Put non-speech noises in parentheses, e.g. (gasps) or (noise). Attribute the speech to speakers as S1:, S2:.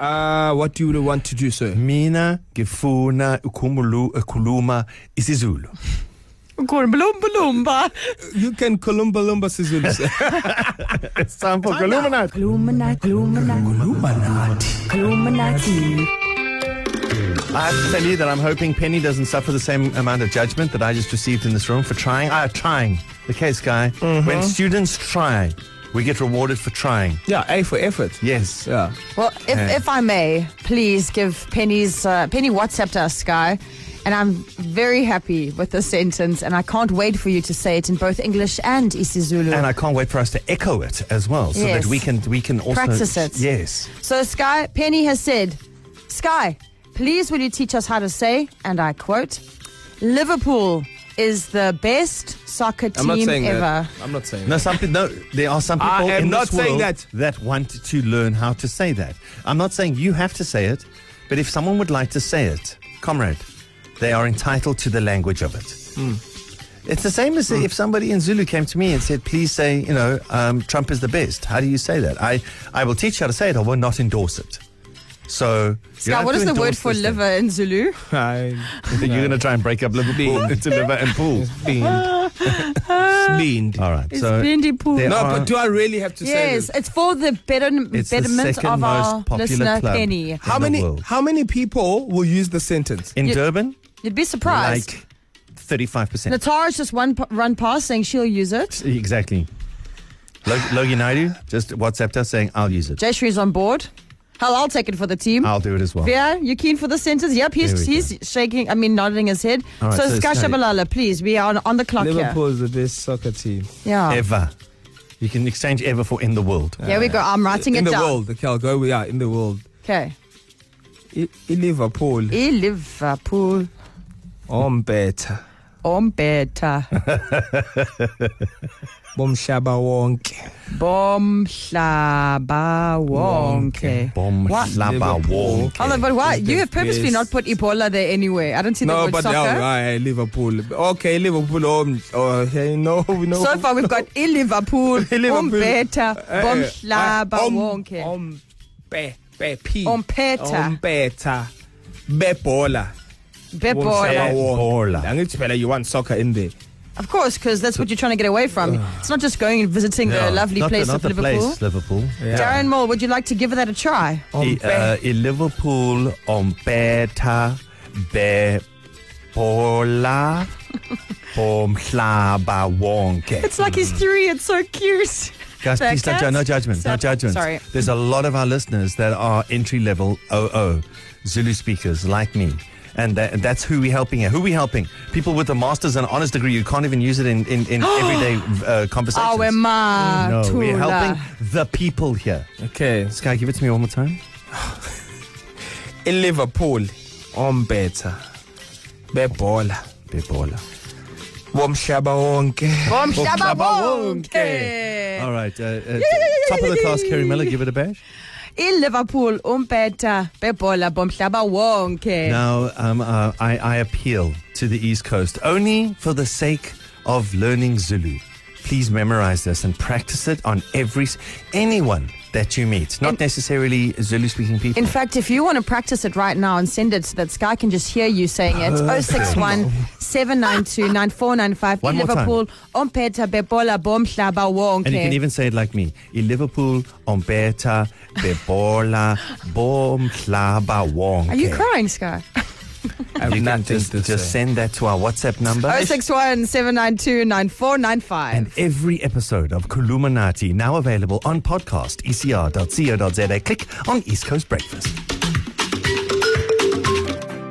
S1: Uh, what do you want to do, sir?
S2: mina ngifuna ukhumulu- ukukhuluma isizulu
S3: Glumbalumba.
S1: You can Columba Lumba Sizulu, sir. (laughs)
S2: sampo khuluma nathi
S3: Glumina, glumina,
S2: khuluma nathi
S3: gluminati.
S2: I have to tell you that I'm hoping Penny doesn't suffer the same amount of judgment that I just received in this room for trying. Ah, trying. The case guy. When students try, we get rewarded for trying.
S1: yeah, A for effort.
S2: Yes.
S1: Yeah.
S4: Well, if,
S2: Yeah.
S4: if I may, please give Penny's uh, Penny WhatsApped us, Guy, and I'm very happy with this sentence, and I can't wait for you to say it in both English and isiZulu.
S2: And I can't wait for us to echo it as well, so
S4: Yes.
S2: that we can we can also
S4: Practice it.
S2: Yes.
S4: so, Sky, Penny has said, Sky, please will you teach us how to say, and I quote, Liverpool is the best soccer
S1: I'm not
S4: team
S1: saying
S4: ever.
S1: that. I'm not saying
S2: No, some, pe- no, there are some
S1: I
S2: people
S1: am
S2: in
S1: not
S2: this world
S1: saying that.
S2: want to learn how to say that. I'm not saying you have to say it, but if someone would like to say it, comrade, they are entitled to the language of it. It's the same as if somebody in Zulu came to me and said, "Please say, you know, um, Trump is the best." How do you say that? I, I will teach you how to say it. I will not endorse it. So, you don't
S4: Sky,
S2: have
S4: what
S2: to
S4: is the word
S2: endorse
S4: for
S2: this thing.
S4: liver in Zulu?
S1: that.
S2: (laughs) You're going to try and break up (laughs) Liverpool into liver and
S1: (laughs)
S2: pool.
S1: Beaned. Beaned.
S2: All right.
S4: It's
S2: so
S4: Bendipool.
S2: there
S1: No,
S2: are-
S1: but do I really have to say
S4: Yes,
S1: this?
S4: it's for the better,
S2: It's the
S4: betterment
S2: second
S4: of our
S2: most popular
S4: listener,
S2: club.
S4: Penny.
S1: How
S2: In the
S1: many
S2: world.
S1: how many people will use the sentence?
S2: in
S4: You-
S2: Durban,
S4: You'd be surprised.
S2: like thirty-five percent.
S4: Natara's just one p- run past saying she'll use it.
S2: Exactly. Log- Logie Naidu just WhatsApped us saying, "I'll use it.
S4: Jayashree's on board. Hell, I'll take it for the team.
S1: Oh.
S2: I'll do it as well."
S4: Vera, you keen for the sentence? Yep, he's
S2: There we
S4: he's shaking, I mean, nodding his head.
S2: All right,
S4: so,
S2: so
S4: so
S2: it's-
S4: Skashabalala, please, we are on, on the clock
S1: Liverpool is the best soccer team.
S4: here. Yeah.
S2: Ever. You can exchange ever for in the world.
S4: Here we go. I'm writing
S1: in
S4: it
S1: the
S4: down.
S1: world. Okay, I'll go. We are in the world.
S4: Okay.
S1: I, I Liverpool.
S4: E Liverpool.
S1: Oh, I'm better.
S4: Ombeta.
S1: (laughs) Bomshaba wonke.
S4: Bomhlaba wonke.
S2: Bomb,
S4: What?
S2: slabba,
S1: Liverpool.
S2: wall.
S4: Hold on, but why?
S1: Is
S4: You
S1: the
S4: have purposely not
S1: best.
S4: put Ebola there anyway. I don't see the
S1: No,
S4: word
S1: but
S4: soccer.
S1: yeah, right, Liverpool. Okay, Liverpool. Um, oh, hey, no, (laughs) no.
S4: So far, we've
S2: (laughs)
S4: got I Liverpool,
S1: Liverpool.
S4: Umbeta,
S1: Eh, eh,
S4: Bomhlaba
S1: ah, um,
S4: Wonke.
S1: Um, be, be, P.
S4: Umpeta.
S1: Umpeta. Bebola.
S4: Bebola.
S2: Bebola.
S1: Langithi phela you want soccer in there.
S4: Of course, because that's what you're trying to get away from. It's not just going and visiting the lovely
S2: not
S4: place
S2: the, not
S4: of
S2: the
S4: Liverpool.
S2: place, Liverpool.
S1: Yeah.
S4: Darren Moore, would you like to give that a try?
S2: I, uh,
S1: Umpe-
S2: in Liverpool, on beta, be,
S4: (laughs)
S2: bola, bom, slabba, wonke.
S4: It's like he's three. It's so
S2: (laughs)
S4: cute.
S2: Guys,
S4: They're
S2: please don't ju-
S4: cats.
S2: no judgment, no
S4: So-
S2: judgment.
S4: Sorry.
S2: There's a lot of our listeners that are entry level OO Zulu speakers like me. And that, that's who we're helping here. Who we helping? People with a master's and honors degree. You can't even use it in, in,
S4: (gasps)
S2: in everyday uh, conversations.
S4: Our Oh, ma.
S2: Mm. no, we're
S4: Tula.
S2: helping the people here.
S1: Okay.
S2: Sky, give it to me one more time.
S1: In Liverpool. Umbeta. Bebola.
S2: Bebola.
S1: Bomshaba wonke.
S4: Bomhlaba
S2: All
S4: Wonke.
S2: right. Uh, uh, top of the class, Kerry Miller, give it a bash.
S4: I Liverpool, Umbeta, Bebola, Bomhlaba Wonke.
S2: Now, um, uh, I, I appeal to the East Coast only for the sake of learning Zulu. Please memorize this and practice it on every s- anyone that you meet, not necessarily Zulu-speaking people.
S4: In fact, if you want to practice it right now and send it so that Sky can just hear you saying it, 061 792 9495
S2: One more time.
S4: Liverpool, Ompeta Bebola Bomhlaba Wonke.
S2: and you can even say it like me: in Liverpool, Ombeta, Bebola, Bom, Klaba, Wong.
S4: Are you crying, Sky?
S1: I have
S2: You can
S1: nothing
S2: just,
S1: to
S2: just
S1: say.
S2: send that to our WhatsApp number.
S4: Oh, 061 792
S2: And
S4: 9495.
S2: every episode of E Kuluminati now available on podcast, ecr.co.za. Click on East Coast Breakfast.